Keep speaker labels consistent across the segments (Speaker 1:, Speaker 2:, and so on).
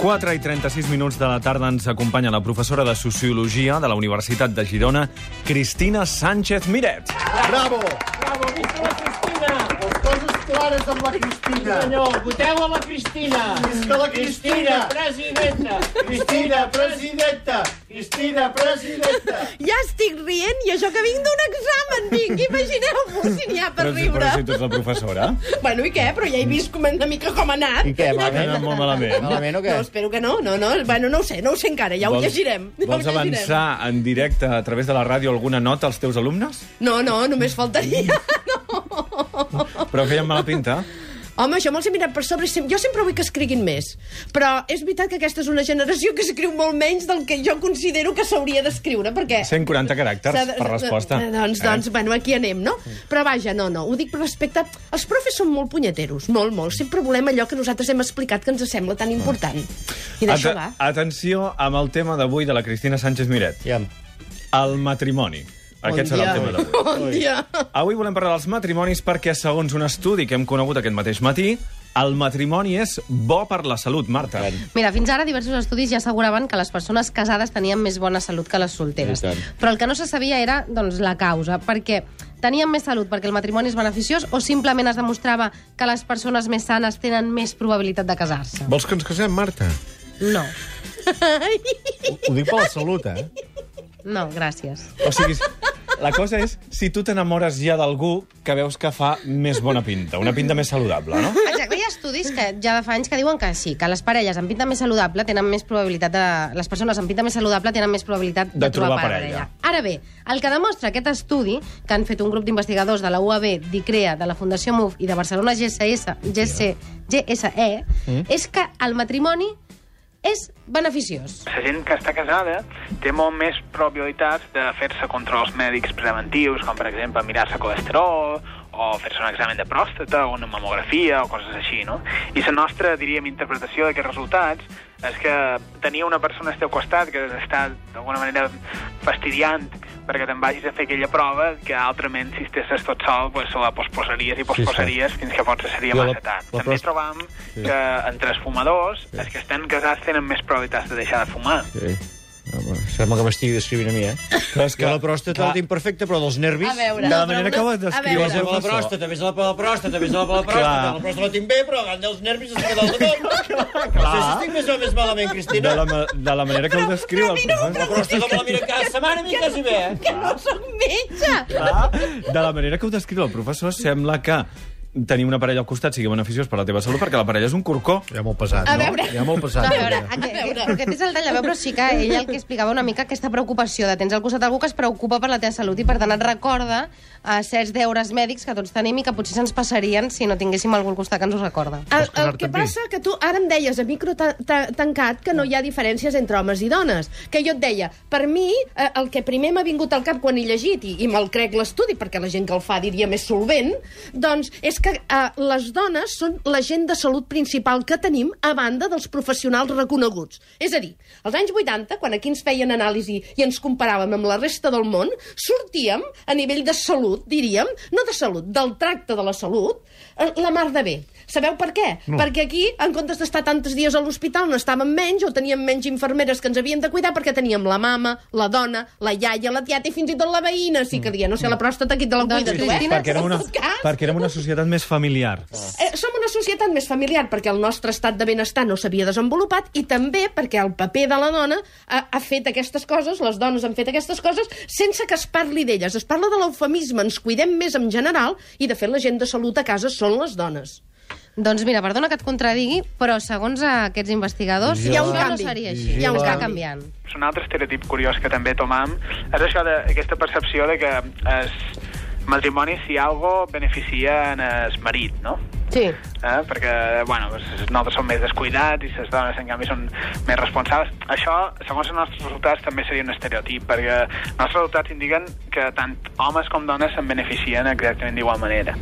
Speaker 1: 4 i 36 minuts de la tarda ens acompanya la professora de Sociologia de la Universitat de Girona, Cristina Sánchez Miret.
Speaker 2: Bravo!
Speaker 3: Bravo, visca la Cristina!
Speaker 2: Coses clares amb la Cristina.
Speaker 3: Senyor, voteu a la Cristina!
Speaker 2: Visca la
Speaker 3: Cristina,
Speaker 2: Cristina!
Speaker 3: presidenta!
Speaker 2: Cristina, presidenta! Cristina, presidenta!
Speaker 4: Ja estic rient i això que vinc d'un examen, vinc, imagineu-vos si n'hi ha per
Speaker 1: però, si-
Speaker 4: riure.
Speaker 1: però si tu ets la professora.
Speaker 4: Bueno, i què? Però ja he vist com una mica com ha anat.
Speaker 5: I què,
Speaker 1: Ha anat
Speaker 5: malament?
Speaker 1: molt malament.
Speaker 5: Malament o què?
Speaker 4: No, espero que no, no, no, bueno, no ho sé, no ho sé encara, ja ho llegirem. ja ho
Speaker 1: vols
Speaker 4: llegirem.
Speaker 1: avançar en directe a través de la ràdio alguna nota als teus alumnes?
Speaker 4: No, no, només faltaria.
Speaker 1: Mm. Però feien mala pinta.
Speaker 4: Home, això me'ls he mirat per sobre. i sem- Jo sempre vull que escriguin més. Però és veritat que aquesta és una generació que escriu molt menys del que jo considero que s'hauria d'escriure, perquè...
Speaker 1: 140 caràcters
Speaker 4: S'ha de-
Speaker 1: per resposta.
Speaker 4: Eh, Doncs, doncs, eh? bueno, aquí anem, no? Però vaja, no, no, ho dic per respecte... Els profes són molt punyeteros, molt, molt. Sempre volem allò que nosaltres hem explicat que ens sembla
Speaker 1: Ah.
Speaker 4: tan important. I d'això va.
Speaker 1: Ate- Atenció amb el tema d'avui de la Cristina Sánchez Miret.
Speaker 5: Aviam.
Speaker 1: El matrimoni. Aquest serà el tema d'avui.
Speaker 4: Bon dia.
Speaker 1: Avui volem parlar dels matrimonis perquè, segons un estudi que hem conegut aquest mateix matí, el matrimoni és bo per la salut, Marta.
Speaker 6: Mira, fins ara diversos estudis ja asseguraven que les persones casades tenien més bona salut que les solteres.
Speaker 5: I tant.
Speaker 6: Però el que no se sabia era doncs, la causa, perquè tenien més salut perquè el matrimoni és beneficiós o simplement es demostrava que les persones més sanes tenen més probabilitat de casar-se?
Speaker 7: Vols que ens casem, Marta?
Speaker 6: No.
Speaker 5: Ho, ho dic per la salut, eh?
Speaker 6: No, gràcies.
Speaker 1: O sigui, la cosa és si tu t'enamores ja d'algú que veus que fa més bona pinta, una pinta més saludable, no?
Speaker 6: Exacte, hi ha estudis que ja de fa anys que diuen que sí, que les parelles amb pinta més saludable tenen més probabilitat de... Les persones amb pinta més saludable tenen més probabilitat de,
Speaker 1: De trobar
Speaker 6: parella.
Speaker 1: parella.
Speaker 6: Ara bé, el que demostra aquest estudi, que han fet un grup d'investigadors de la UAB, d'ICREA, de la Fundació MUF i de Barcelona GSS, GC, GSE, mm. és que el matrimoni és beneficiós.
Speaker 8: La gent que està casada té molt més probabilitats de fer-se controls mèdics preventius, com per exemple mirar-se colesterol, o fer-se un examen de pròstata, o una mamografia, o coses així, no? I la nostra, diríem, interpretació d'aquests resultats és que tenir una persona al teu costat que està d'alguna manera fastidiant perquè te'n vagis a fer aquella prova que altrament si estessis tot sol pues, la posposaries i posposaries fins que potser seria
Speaker 5: Jo la-
Speaker 8: massa tard.
Speaker 5: la
Speaker 8: També
Speaker 5: prost-
Speaker 8: trobam que entre els fumadors, els que estan casats tenen més probabilitats de deixar de fumar.
Speaker 5: Sí. Home, sembla que m'estigui descrivint a mi, eh?
Speaker 1: Però és
Speaker 5: Que la pròstata la tinc perfecta, però dels nervis...
Speaker 4: A veure.
Speaker 1: de la manera que ho has
Speaker 4: A
Speaker 1: descrit,
Speaker 4: veure.
Speaker 5: Vés a la pròstata, vés a la, la pròstata, vés a la, la pròstata.
Speaker 1: Clar.
Speaker 5: La pròstata la tinc bé, però agafant els nervis estic a dalt de tot. No sé si estic més o més malament,
Speaker 1: de
Speaker 5: Cristina.
Speaker 1: la, ma- de la manera que ho descriu el
Speaker 5: La
Speaker 1: professor.
Speaker 5: pròstata me la mira cada setmana, a mi quasi bé, eh?
Speaker 4: Que no sóc metge.
Speaker 1: Ah, De la manera que ho descriu el professor, sembla que tenir una parella al costat sigui beneficiós per la teva salut, perquè la parella és un corcó.
Speaker 7: Ja molt pesat,
Speaker 4: A
Speaker 7: no?
Speaker 4: veure.
Speaker 7: Ja molt pesat. eh?
Speaker 6: A veure,
Speaker 7: ja.
Speaker 6: aquest, aquest, aquest és el tall de veu, però sí que ell el que explicava una mica aquesta preocupació de tens al costat algú que es preocupa per la teva salut i per tant et recorda a certs deures mèdics que tots tenim i que potser se'ns passarien si no tinguéssim algú al costat que ens ho recorda.
Speaker 4: El, el
Speaker 7: casar-te
Speaker 4: que
Speaker 7: amb mi?
Speaker 4: passa que tu ara em deies a micro ta ta tancat que no hi ha diferències entre homes i dones. Que jo et deia, per mi, eh, el que primer m'ha vingut al cap quan he llegit, i, i me'l crec l'estudi, perquè la gent que el fa diria més solvent, doncs és que eh, les dones són la gent de salut principal que tenim a banda dels professionals reconeguts. És a dir, als anys 80, quan aquí ens feien anàlisi i ens comparàvem amb la resta del món, sortíem a nivell de salut, diríem, no de salut, del tracte de la salut, eh, la mar de bé. Sabeu per què? No. Perquè aquí, en comptes d'estar tantes dies a l'hospital, no estàvem menys o teníem menys infermeres que ens havien de cuidar perquè teníem la mama, la dona, la iaia, la tieta i fins i tot la veïna. Sí que dia, no sé, la pròstata qui te la
Speaker 6: Doncs,
Speaker 4: cuida, tu, eh?
Speaker 6: Cristina,
Speaker 1: Mm. Perquè érem, una,
Speaker 4: En tot cas,
Speaker 1: perquè érem una societat més familiar.
Speaker 4: Eh, som una societat més familiar perquè el nostre estat de benestar no s'havia desenvolupat i també perquè el paper de la dona ha, ha fet aquestes coses, les dones han fet aquestes coses, sense que es parli d'elles. Es parla de l'eufemisme, ens cuidem més en general i, de fet, la gent de salut a casa són les dones.
Speaker 6: Doncs mira, perdona que et contradigui, però segons aquests investigadors,
Speaker 4: Hi ha un
Speaker 6: això
Speaker 4: canvi.
Speaker 6: no seria així.
Speaker 4: Hi ha un
Speaker 6: Està
Speaker 4: canvi.
Speaker 6: canviant.
Speaker 8: És un altre estereotip curiós que també tomam. És això de, aquesta percepció de que el matrimoni, si algo, beneficia en el marit, no?
Speaker 6: Sí.
Speaker 8: eh? perquè bueno, les notes són més descuidats i les dones, en canvi, són més responsables. Això, segons els nostres resultats, també seria un estereotip, perquè els nostres resultats indiquen que tant homes com dones se'n beneficien exactament d'igual manera.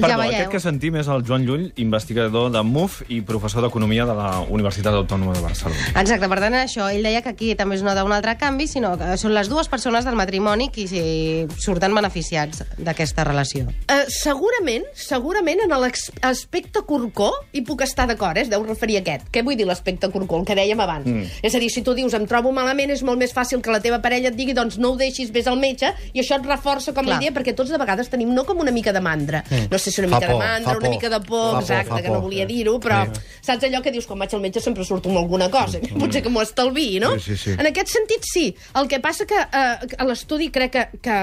Speaker 1: Perdó,
Speaker 6: veieu.
Speaker 1: aquest que sentim és el Joan Llull, investigador de MUF i professor d'Economia de la Universitat Autònoma de Barcelona.
Speaker 6: Exacte, per tant, això, ell deia que aquí també es nota un altre canvi, sinó que són les dues persones del matrimoni qui eh, surten beneficiats d'aquesta relació.
Speaker 4: Eh, segurament, segurament en l'aspecte corcó hi puc estar d'acord, eh? es deu referir a aquest. Què vull dir l'aspecte corcó? El que dèiem abans. Mm. És a dir, si tu dius em trobo malament, és molt més fàcil que la teva parella et digui doncs no ho deixis, vés al metge, i això et reforça com Clar.
Speaker 6: Clar.
Speaker 4: la idea, perquè tots de vegades tenim no com una mica de mandra. Mm. No sé si una
Speaker 7: Fa
Speaker 4: mica de
Speaker 7: por,
Speaker 4: mandra,
Speaker 7: fa
Speaker 4: una
Speaker 7: por.
Speaker 4: mica de
Speaker 7: Fa
Speaker 4: por,
Speaker 7: por,
Speaker 4: exacte,
Speaker 7: fa
Speaker 4: que no
Speaker 7: por,
Speaker 4: volia
Speaker 7: eh.
Speaker 4: dir-ho, però saps allò que dius quan vaig al metge sempre surto amb alguna cosa,
Speaker 7: Mm.
Speaker 4: potser que m'ho estalviï, no?
Speaker 7: Sí, sí, sí.
Speaker 4: En en aquest sentit, sí. El que passa que eh, a l'estudi crec que, que,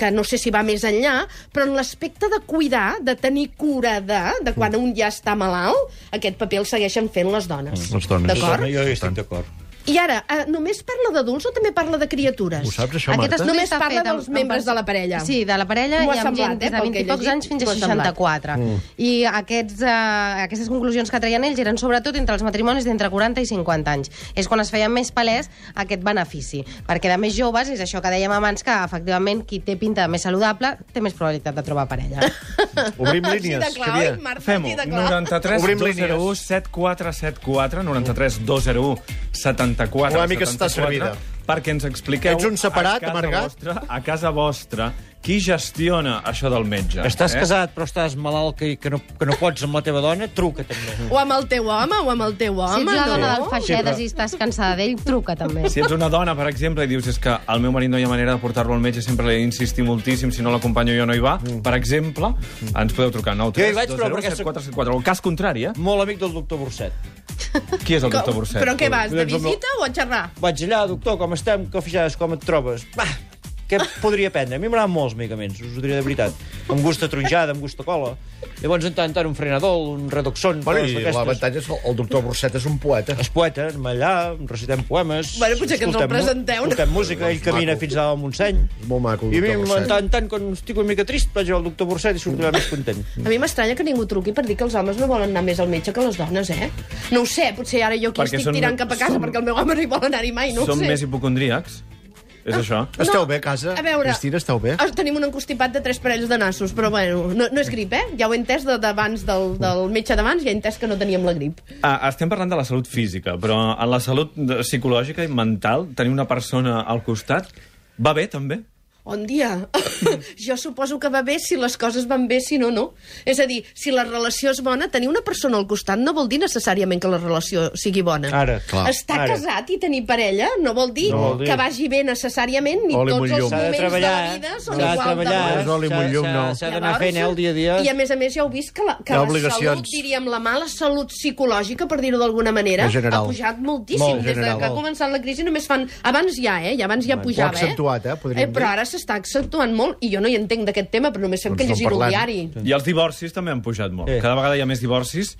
Speaker 4: que no sé si va més enllà, però en l'aspecte de cuidar, de tenir cura de, de quan un ja està malalt, aquest paper el segueixen fent les dones.
Speaker 7: Mm,
Speaker 1: Doncs
Speaker 7: les dones.
Speaker 4: D'acord?
Speaker 9: Jo hi estic d'acord.
Speaker 4: I ara, eh, només parla d'adults o també parla de criatures?
Speaker 7: Ho saps, això,
Speaker 6: Aquest
Speaker 7: Marta?
Speaker 6: estudi
Speaker 4: Només
Speaker 6: està
Speaker 4: parla
Speaker 6: fet amb-
Speaker 4: dels membres
Speaker 6: amb-
Speaker 4: de la parella.
Speaker 6: Sí, de la parella
Speaker 4: M'ho
Speaker 6: i
Speaker 4: ha
Speaker 6: amb
Speaker 4: semblat,
Speaker 6: gent
Speaker 4: eh,
Speaker 6: des de
Speaker 4: pel
Speaker 6: 20 i
Speaker 4: que he
Speaker 6: pocs
Speaker 4: llegit,
Speaker 6: anys fins a
Speaker 4: m'ho ha semblat.
Speaker 6: 64.
Speaker 7: Mm.
Speaker 6: I aquests, eh, aquestes conclusions que treien ells eren sobretot entre els matrimonis d'entre 40 i 50 anys. És quan es feia més palès aquest benefici. Perquè de més joves, és això que dèiem abans, que efectivament qui té pinta de més saludable té més probabilitat de trobar parella.
Speaker 7: Obrim
Speaker 4: Així
Speaker 7: línies,
Speaker 4: de clar,
Speaker 7: Xavier.
Speaker 4: oi, Marta?
Speaker 1: Fem-ho.
Speaker 4: Així de clar.
Speaker 1: 93
Speaker 7: Obrim
Speaker 1: 201
Speaker 7: línies.
Speaker 1: 7474 93 201 74
Speaker 7: Una mica està servida.
Speaker 1: perquè ens expliqueu
Speaker 7: Ets un separat,
Speaker 1: a, casa
Speaker 7: amargat?
Speaker 1: vostra, a casa vostra qui gestiona això del metge.
Speaker 7: Eh?
Speaker 1: eh?
Speaker 9: Estàs casat, però estàs malalt que, que, no, que no pots amb la teva dona, truca també.
Speaker 4: O amb el teu home, o amb el teu home,
Speaker 6: si ets la dona del
Speaker 4: no?
Speaker 6: Faixedes i estàs cansada d'ell, truca també.
Speaker 1: Si ets una dona, per exemple, i dius és que al meu marit no hi ha manera de portar-lo al metge, sempre li he insistit moltíssim, si no l'acompanyo jo no hi va,
Speaker 7: Mm.
Speaker 1: per exemple, ens podeu trucar
Speaker 9: Jo hi vaig,
Speaker 1: 9
Speaker 9: però perquè
Speaker 1: 3 7474. El cas contrari, eh?
Speaker 9: Molt amic del doctor Borset.
Speaker 1: Qui és el doctor
Speaker 4: Com-
Speaker 1: Borset?
Speaker 4: Però què vas, de
Speaker 9: Doncs amb el-
Speaker 4: visita o a xerrar?
Speaker 9: Vaig allà, doctor, com estem? Que fixades, com et trobes? Bah, què podria prendre? A mi m'agraden molts medicaments, us ho diré de veritat. Amb gust a tronjada, amb gust a cola. Llavors, en tant en tant, un frenadol, un redoxon...
Speaker 7: Bueno,
Speaker 9: coses
Speaker 7: i
Speaker 9: d'aquestes.
Speaker 7: l'avantatge és que el doctor Borset és un poeta.
Speaker 9: És poeta, anem allà, recitem poemes...
Speaker 4: Bueno, potser que ens el
Speaker 9: escoltem mu-
Speaker 4: presenteu.
Speaker 9: Escoltem música, ell
Speaker 7: Maco.
Speaker 9: camina fins a Montseny.
Speaker 7: És molt maco, el
Speaker 9: I a mi,
Speaker 7: doctor
Speaker 9: en
Speaker 7: Borset.
Speaker 9: tant, en tant, quan estic una mica trist, vaig al doctor Borset i surto allà més content.
Speaker 4: A mi m'estranya que ningú truqui per dir que els homes no volen anar més al metge que les dones, eh? No ho sé, potser ara jo aquí
Speaker 1: Perquè
Speaker 4: estic
Speaker 1: són-
Speaker 4: tirant cap a casa
Speaker 1: som-
Speaker 4: perquè el meu home no hi vol anar-hi mai, no ho
Speaker 1: Som
Speaker 4: sé.
Speaker 1: més hipocondríacs? És això?
Speaker 7: Esteu bé a casa?
Speaker 4: A veure...
Speaker 7: Cristina, esteu bé?
Speaker 4: Ah, Tenim un encostipat de tres parells de nassos, però bueno, no, no és grip, eh? Ja ho he entès de- d'abans del, del metge d'abans, ja he entès que no teníem la grip.
Speaker 1: Ah, estem parlant de la salut física, però en la salut de- psicològica i mental, tenir una persona al costat va bé, també?
Speaker 4: On dia? jo suposo que va bé si les coses van bé, si no, no. És a dir, si la relació és bona, tenir una persona al costat no vol dir necessàriament que la relació sigui bona.
Speaker 9: Ara,
Speaker 7: Clar.
Speaker 4: Estar
Speaker 9: Ara.
Speaker 4: casat i tenir parella no vol dir,
Speaker 9: No vol dir.
Speaker 4: que vagi bé necessàriament ni
Speaker 7: Oli
Speaker 4: tots
Speaker 7: molt llum.
Speaker 4: els
Speaker 9: S'ha de
Speaker 4: moments de,
Speaker 9: treballar, eh?
Speaker 4: la vida són
Speaker 9: s'ha de
Speaker 4: igual de
Speaker 9: treballar, eh?
Speaker 4: bons.
Speaker 7: És oli molt llum, no.
Speaker 9: s'ha d'anar fent, eh, el dia a dia.
Speaker 4: I a més a més ja heu vist que la, que
Speaker 7: Hi ha
Speaker 4: la
Speaker 7: obligacions.
Speaker 4: salut, diríem, la mala salut psicològica, per dir-ho d'alguna manera,
Speaker 7: En general.
Speaker 4: ha pujat moltíssim.
Speaker 7: Molt, en
Speaker 4: Des de
Speaker 7: general.
Speaker 4: que ha començat la crisi només fan... Abans ja, eh? I abans ja pujava, eh?
Speaker 7: accentuat, eh? Podríem
Speaker 4: eh? Però
Speaker 7: dir.
Speaker 4: ara s'està accentuant molt, i jo no hi entenc d'aquest tema, però només fem
Speaker 7: Doncs
Speaker 4: que
Speaker 7: no en
Speaker 4: llegir el
Speaker 7: parlem.
Speaker 4: diari.
Speaker 1: I els divorcis també han pujat molt.
Speaker 9: Eh.
Speaker 1: Cada vegada hi ha més divorcis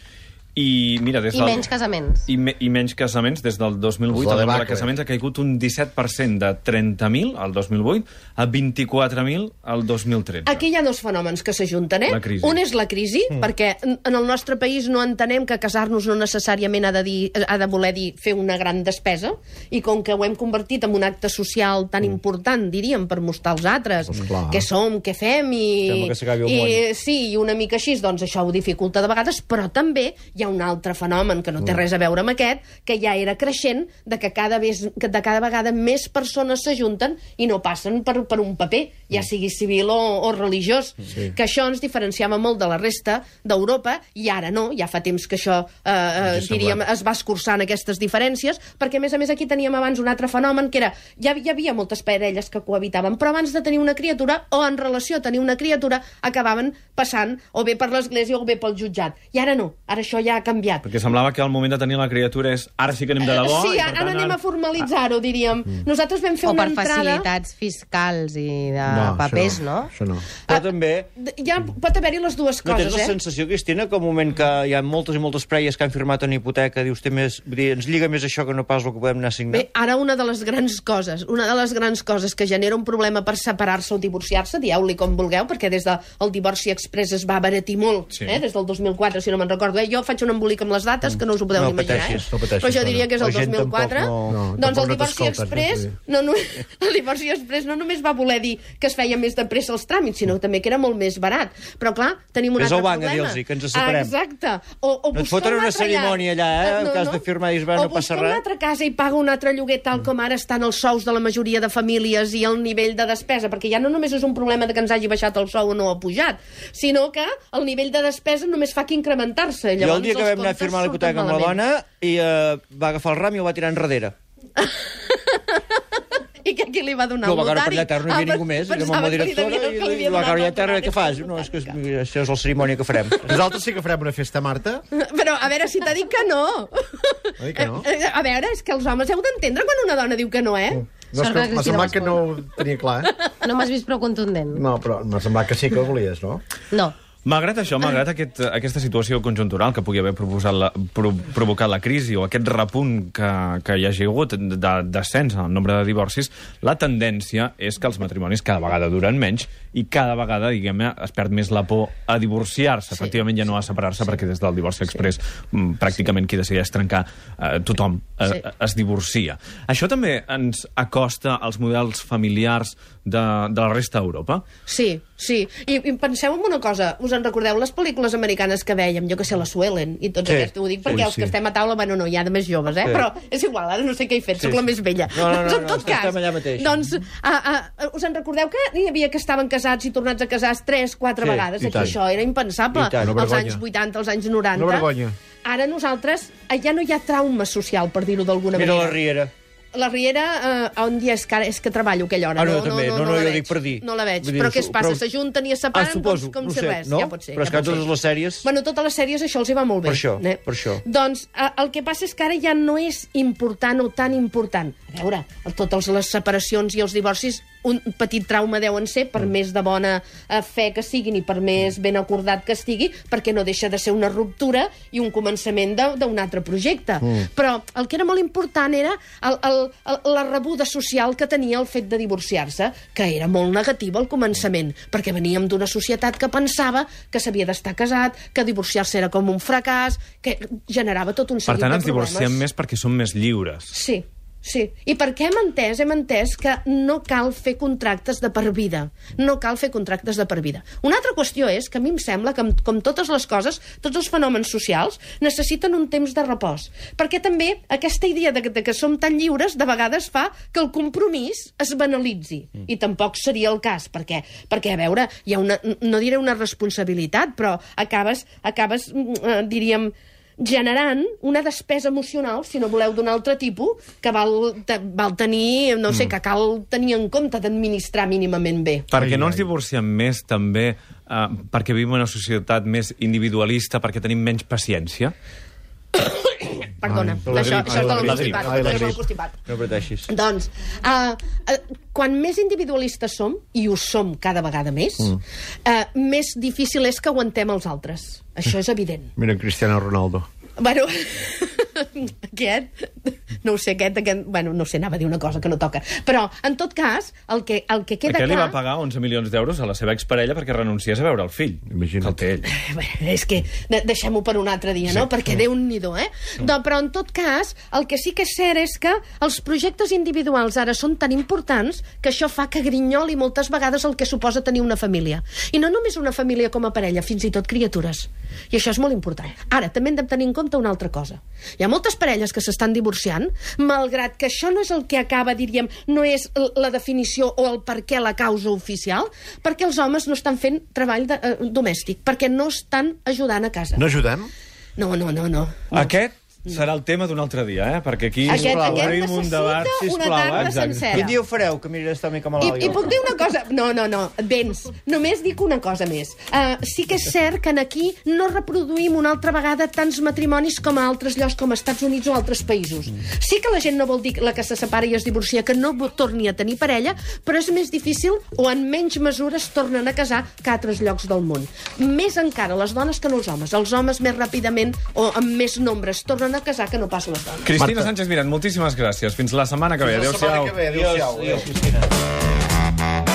Speaker 1: i, mira, des
Speaker 6: I
Speaker 1: del...
Speaker 6: menys casaments.
Speaker 1: I, me, I menys casaments, des del 2008,
Speaker 7: És la
Speaker 1: el nombre de
Speaker 7: debacle.
Speaker 1: casaments ha caigut un 17% de 30.000 al 2008 a 24.000 al 2013.
Speaker 4: Aquí hi ha dos fenòmens que s'ajunten, eh?
Speaker 1: La crisi.
Speaker 4: Un és la crisi, mm. perquè en en el nostre país no entenem que casar-nos no necessàriament ha de, dir, eh, ha de voler dir fer una gran despesa, i com que ho hem convertit en un acte social tan
Speaker 9: Mm.
Speaker 4: important, diríem, per mostrar als altres
Speaker 7: Doncs clar.
Speaker 4: què som, què fem, i...
Speaker 9: Sembla que s'acabi el
Speaker 4: i,
Speaker 9: món.
Speaker 4: Sí, i una mica així, doncs això ho dificulta de vegades, però també hi ha un altre fenomen que no té res a veure amb aquest, que ja era creixent, de que cada, vez, que de cada vegada més persones s'ajunten i no passen per, per un paper, ja sigui civil o, o religiós, sí. que això ens diferenciava molt de la resta d'Europa, i ara no, ja fa temps que això, eh, eh,
Speaker 7: Ens ha
Speaker 4: diríem,
Speaker 7: semblat.
Speaker 4: es va escurçant aquestes diferències, perquè a més a més aquí teníem abans un altre fenomen que era, ja hi havia moltes parelles que cohabitaven, però abans de tenir una criatura o en relació a tenir una criatura acabaven passant o bé per l'església o bé pel jutjat. I ara no, ara això ja ha canviat.
Speaker 1: Perquè semblava que el moment de tenir la criatura és ara sí que anem de debò.
Speaker 4: sí,
Speaker 1: i per
Speaker 4: ara
Speaker 1: tant,
Speaker 4: anem a formalitzar-ho, diríem. Nosaltres vam fer
Speaker 6: O
Speaker 4: una
Speaker 6: per
Speaker 4: entrada...
Speaker 6: facilitats fiscals i
Speaker 7: No,
Speaker 6: de
Speaker 7: això
Speaker 6: papers, no?
Speaker 7: Això no.
Speaker 9: Però també...
Speaker 4: D- Ja pot haver-hi les dues
Speaker 9: No
Speaker 4: coses,
Speaker 9: tens la
Speaker 4: eh?
Speaker 9: sensació, Cristina, que al moment que hi ha moltes i moltes preies que han firmat una hipoteca, dius, té més... Vull dir, ens lliga més això que no pas el que podem anar a signar?
Speaker 4: Bé, ara una de les grans coses, una de les grans coses que genera un problema per separar-se o divorciar-se, dieu-li com vulgueu, perquè des del el divorci express es va abaratir molt,
Speaker 1: Sí.
Speaker 4: sí. eh? des del 2004, si no me'n recordo. Eh? Jo faig un embolic amb les dates que no us ho podeu
Speaker 9: Mm. No
Speaker 4: ni imaginar.
Speaker 9: pateixis,
Speaker 4: eh?
Speaker 7: no pateixis,
Speaker 4: Però jo
Speaker 7: Dona.
Speaker 4: diria que és el
Speaker 9: La gent
Speaker 4: 2004.
Speaker 9: tampoc no-
Speaker 7: no,
Speaker 4: doncs
Speaker 7: tampoc
Speaker 4: el
Speaker 7: no
Speaker 4: divorci
Speaker 7: t'escoltes,
Speaker 4: express...
Speaker 7: vull dir.
Speaker 4: No, no, el divorci express no només va voler dir que es feia més de pressa els tràmits, sinó també que era molt més barat. Però, clar, tenim un
Speaker 9: Vés
Speaker 4: altre
Speaker 9: al banc a
Speaker 4: problema.
Speaker 9: dir-los que ens separem.
Speaker 4: Exacte. O, o
Speaker 9: No et
Speaker 4: buscar
Speaker 9: foten
Speaker 4: un
Speaker 9: una
Speaker 4: altre llar.
Speaker 9: cerimònia allà, eh,
Speaker 4: Eh,
Speaker 9: en cas de firmar i es va,
Speaker 4: o
Speaker 9: no passa
Speaker 4: buscar
Speaker 9: res.
Speaker 4: una altra casa i paga un altre lloguer tal com ara estan els sous de la majoria de famílies i el nivell de despesa, perquè ja no només és un problema de que ens hagi baixat el sou o no ha pujat, sinó que el nivell de despesa només fa que incrementar-se.
Speaker 9: Jo el
Speaker 4: Llavors,
Speaker 9: dia que
Speaker 4: els
Speaker 9: vam anar a
Speaker 4: comptes
Speaker 9: firmar la
Speaker 4: surten
Speaker 9: hipoteca amb la
Speaker 4: malament.
Speaker 9: dona i eh, va agafar el ram i el va tirar enrere.
Speaker 4: I que aquí li va donar
Speaker 9: No,
Speaker 4: el
Speaker 9: va
Speaker 4: notari. Ah,
Speaker 9: caure per allà a terra, no hi havia ningú més. I la meva directora i li va caure allà a terra, què fas? No, és que és, això és la cerimònia que farem.
Speaker 7: Nosaltres sí que farem una festa, Marta.
Speaker 4: Però a veure si t'ha dit que no.
Speaker 7: Ha dit que no?
Speaker 4: Eh, eh, A veure, és que els homes heu d'entendre quan una dona diu que no, eh?
Speaker 7: No, és que
Speaker 6: Sort que
Speaker 7: m'ha
Speaker 6: Cristina
Speaker 7: semblat que no
Speaker 6: respon.
Speaker 7: ho tenia clar, eh?
Speaker 6: No m'has vist prou contundent.
Speaker 7: No, però m'ha semblat que sí que ho volies, no?
Speaker 6: No.
Speaker 1: Malgrat això, malgrat aquest, aquesta situació conjuntural que pugui haver proposat la, pro, provocat la crisi o aquest repunt que, que hi hagi hagut de descens en el nombre de divorcis, la tendència és que els matrimonis cada vegada duren menys i cada vegada, diguem-ne, es perd més la por a divorciar-se. Sí, Efectivament, ja no a separar-se, sí, perquè des del divorci sí, express mm, pràcticament qui decideix trencar eh, tothom eh,
Speaker 4: Sí.
Speaker 1: es divorcia. Això també ens acosta als models familiars de, de la resta d'Europa?
Speaker 4: Sí, sí. I, I penseu en una cosa. Us en recordeu les pel·lícules americanes que vèiem? Jo que sé, la Suelen i tots
Speaker 9: Sí.
Speaker 4: sí. aquests. Ho dic perquè
Speaker 7: Ui,
Speaker 4: els que
Speaker 7: sí.
Speaker 4: estem a taula, bueno, no, hi ha de més joves, eh? Sí.
Speaker 9: Sí.
Speaker 4: Però és igual, ara no sé què he fet, sí, sóc la més vella.
Speaker 9: No, no, no,
Speaker 4: doncs, en
Speaker 9: no,
Speaker 4: tot
Speaker 9: estem-
Speaker 4: cas,
Speaker 9: estem allà mateix.
Speaker 4: Doncs, a, a, us en recordeu que hi havia que estaven casats i tornats a casar tres, quatre
Speaker 9: Sí,
Speaker 4: vegades?
Speaker 7: i
Speaker 4: Aquí
Speaker 7: tant.
Speaker 4: això era impensable.
Speaker 9: I tant, una
Speaker 4: als
Speaker 7: vergonya.
Speaker 4: anys 80, als anys 90.
Speaker 7: Una vergonya.
Speaker 4: Ara nosaltres, eh, ja no hi ha trauma social, per dir-ho d'alguna
Speaker 9: Mira la
Speaker 4: manera.
Speaker 9: riera.
Speaker 4: La Riera, eh, on dia és que, ara- és que treballo aquella hora?
Speaker 9: Ah, no, també. No, no,
Speaker 4: la
Speaker 9: jo
Speaker 4: veig.
Speaker 9: dic per dir.
Speaker 4: No la veig.
Speaker 9: Vull dir,
Speaker 4: Però què es
Speaker 9: su-
Speaker 4: passa?
Speaker 9: però-
Speaker 4: S'ajunten i es
Speaker 9: Ah,
Speaker 4: separen
Speaker 9: suposo,
Speaker 4: com, com
Speaker 9: no
Speaker 4: si
Speaker 9: sé,
Speaker 4: res.
Speaker 9: no?
Speaker 4: Ja pot ser.
Speaker 9: Però és
Speaker 4: ja
Speaker 9: que a
Speaker 4: pot
Speaker 9: totes
Speaker 4: ser.
Speaker 9: les sèries-
Speaker 4: Bueno, totes les sèries això els hi va molt bé.
Speaker 9: Per això,
Speaker 4: eh?
Speaker 9: per això.
Speaker 4: Doncs eh, el que passa és que ara ja no és important o tan important. A veure, totes les separacions i els divorcis un petit trauma deuen ser,
Speaker 9: Mm.
Speaker 4: per més de bona eh, fe que siguin i per més ben acordat que estigui, perquè no deixa de ser una ruptura i un començament de- d'un altre projecte. Mm. Però el que era molt important era el, el, el, la rebuda social que tenia el fet de divorciar-se, que era molt negativa al començament, perquè veníem d'una societat que pensava que s'havia d'estar casat, que divorciar-se era com un fracàs, que generava tot un
Speaker 1: Per
Speaker 4: seguit
Speaker 1: tant,
Speaker 4: de
Speaker 1: ens
Speaker 4: problemes.
Speaker 1: divorciem més perquè som més lliures.
Speaker 4: Sí, sí. I per què hem entès? Hem entès que no cal fer contractes de per vida. No cal fer contractes de per vida. Una altra qüestió és que a mi em sembla que, amb- com totes les coses, tots els fenòmens socials necessiten un temps de repòs. Perquè també aquesta idea de que, de que som tan lliures de vegades fa que el compromís es banalitzi. I tampoc seria el cas, perquè, perquè a veure, hi ha una, no diré una responsabilitat, però acabes, acabes mm, eh, diríem, generant una despesa emocional, si no voleu d'un altre tipus, que val, te, val tenir, no
Speaker 1: Mm.
Speaker 4: sé, que cal tenir en compte d'administrar mínimament bé.
Speaker 1: Perquè no ens divorciem més, també, eh, perquè vivim en una societat més individualista, perquè tenim menys paciència.
Speaker 4: Perdona,
Speaker 7: la
Speaker 4: això,
Speaker 7: grip,
Speaker 4: això és
Speaker 7: la
Speaker 4: de
Speaker 7: grip,
Speaker 4: l'encostipat.
Speaker 7: ai, la
Speaker 4: això és de
Speaker 7: grip.
Speaker 4: l'encostipat.
Speaker 9: No preteixis.
Speaker 4: Doncs, uh, uh, quan més individualistes som, i ho som cada vegada més, mm. uh, més difícil és que aguantem els altres. Això és evident.
Speaker 7: Mira, Cristiano Ronaldo.
Speaker 4: Bueno, aquest... No ho sé, aquest, aquest... Bueno, no ho sé, anava a dir una cosa que no toca. Però, en tot cas, el que, el que queda
Speaker 1: Aquest li
Speaker 4: clar...
Speaker 1: va pagar 11 milions d'euros a la seva exparella perquè renunciés a veure el fill. Que
Speaker 7: Imagina't.
Speaker 1: el té ell.
Speaker 4: Bé, és que de- deixem-ho per un altre dia, no? Perquè Déu-n'hi-do, eh? No, però, en tot cas, el que sí que és cert és que els projectes individuals ara són tan importants que això fa que grinyoli moltes vegades el que suposa tenir una família. I no només una família com a parella, fins i tot criatures. I això és molt important. Ara, també hem de tenir en compte una altra cosa. Hi ha moltes parelles que s'estan divorciant, malgrat que això no és el que acaba, diríem, no és l- la definició o el per què la causa oficial, perquè els homes no estan fent treball de, eh, domèstic, perquè no estan ajudant a casa.
Speaker 7: No ajudem?
Speaker 4: No, no, no, no.
Speaker 1: Aquest serà el tema d'un altre dia, eh? Perquè aquí
Speaker 4: Aquest,
Speaker 1: obrim
Speaker 4: aquest
Speaker 1: un
Speaker 4: necessita
Speaker 1: debat...
Speaker 4: una
Speaker 9: sisplau, eh?
Speaker 4: tarda
Speaker 1: Exacte.
Speaker 9: Quin
Speaker 4: sencera.
Speaker 9: dia ho fareu, que miraré estar mica malalt?
Speaker 4: I, I puc dir una cosa? No, no, no, vens. Només dic una cosa més. Uh, sí que és cert que en aquí no reproduïm una altra vegada tants matrimonis com a altres llocs, com a Estats Units o altres països. Sí que la gent no vol dir la que se separa i es divorcia, que no vo- torni a tenir parella, però és més difícil o en menys mesura es tornen a casar que a altres llocs del món. Més encara les dones que no els homes. Els homes més ràpidament o amb més nombre es tornen a casar que no pas les dones.
Speaker 1: Cristina Sánchez Miran, moltíssimes gràcies. Fins la setmana que ve.
Speaker 7: La
Speaker 1: Adéu-siau.
Speaker 7: setmana que ve, adéu-siau. Adéu.
Speaker 9: Cristina.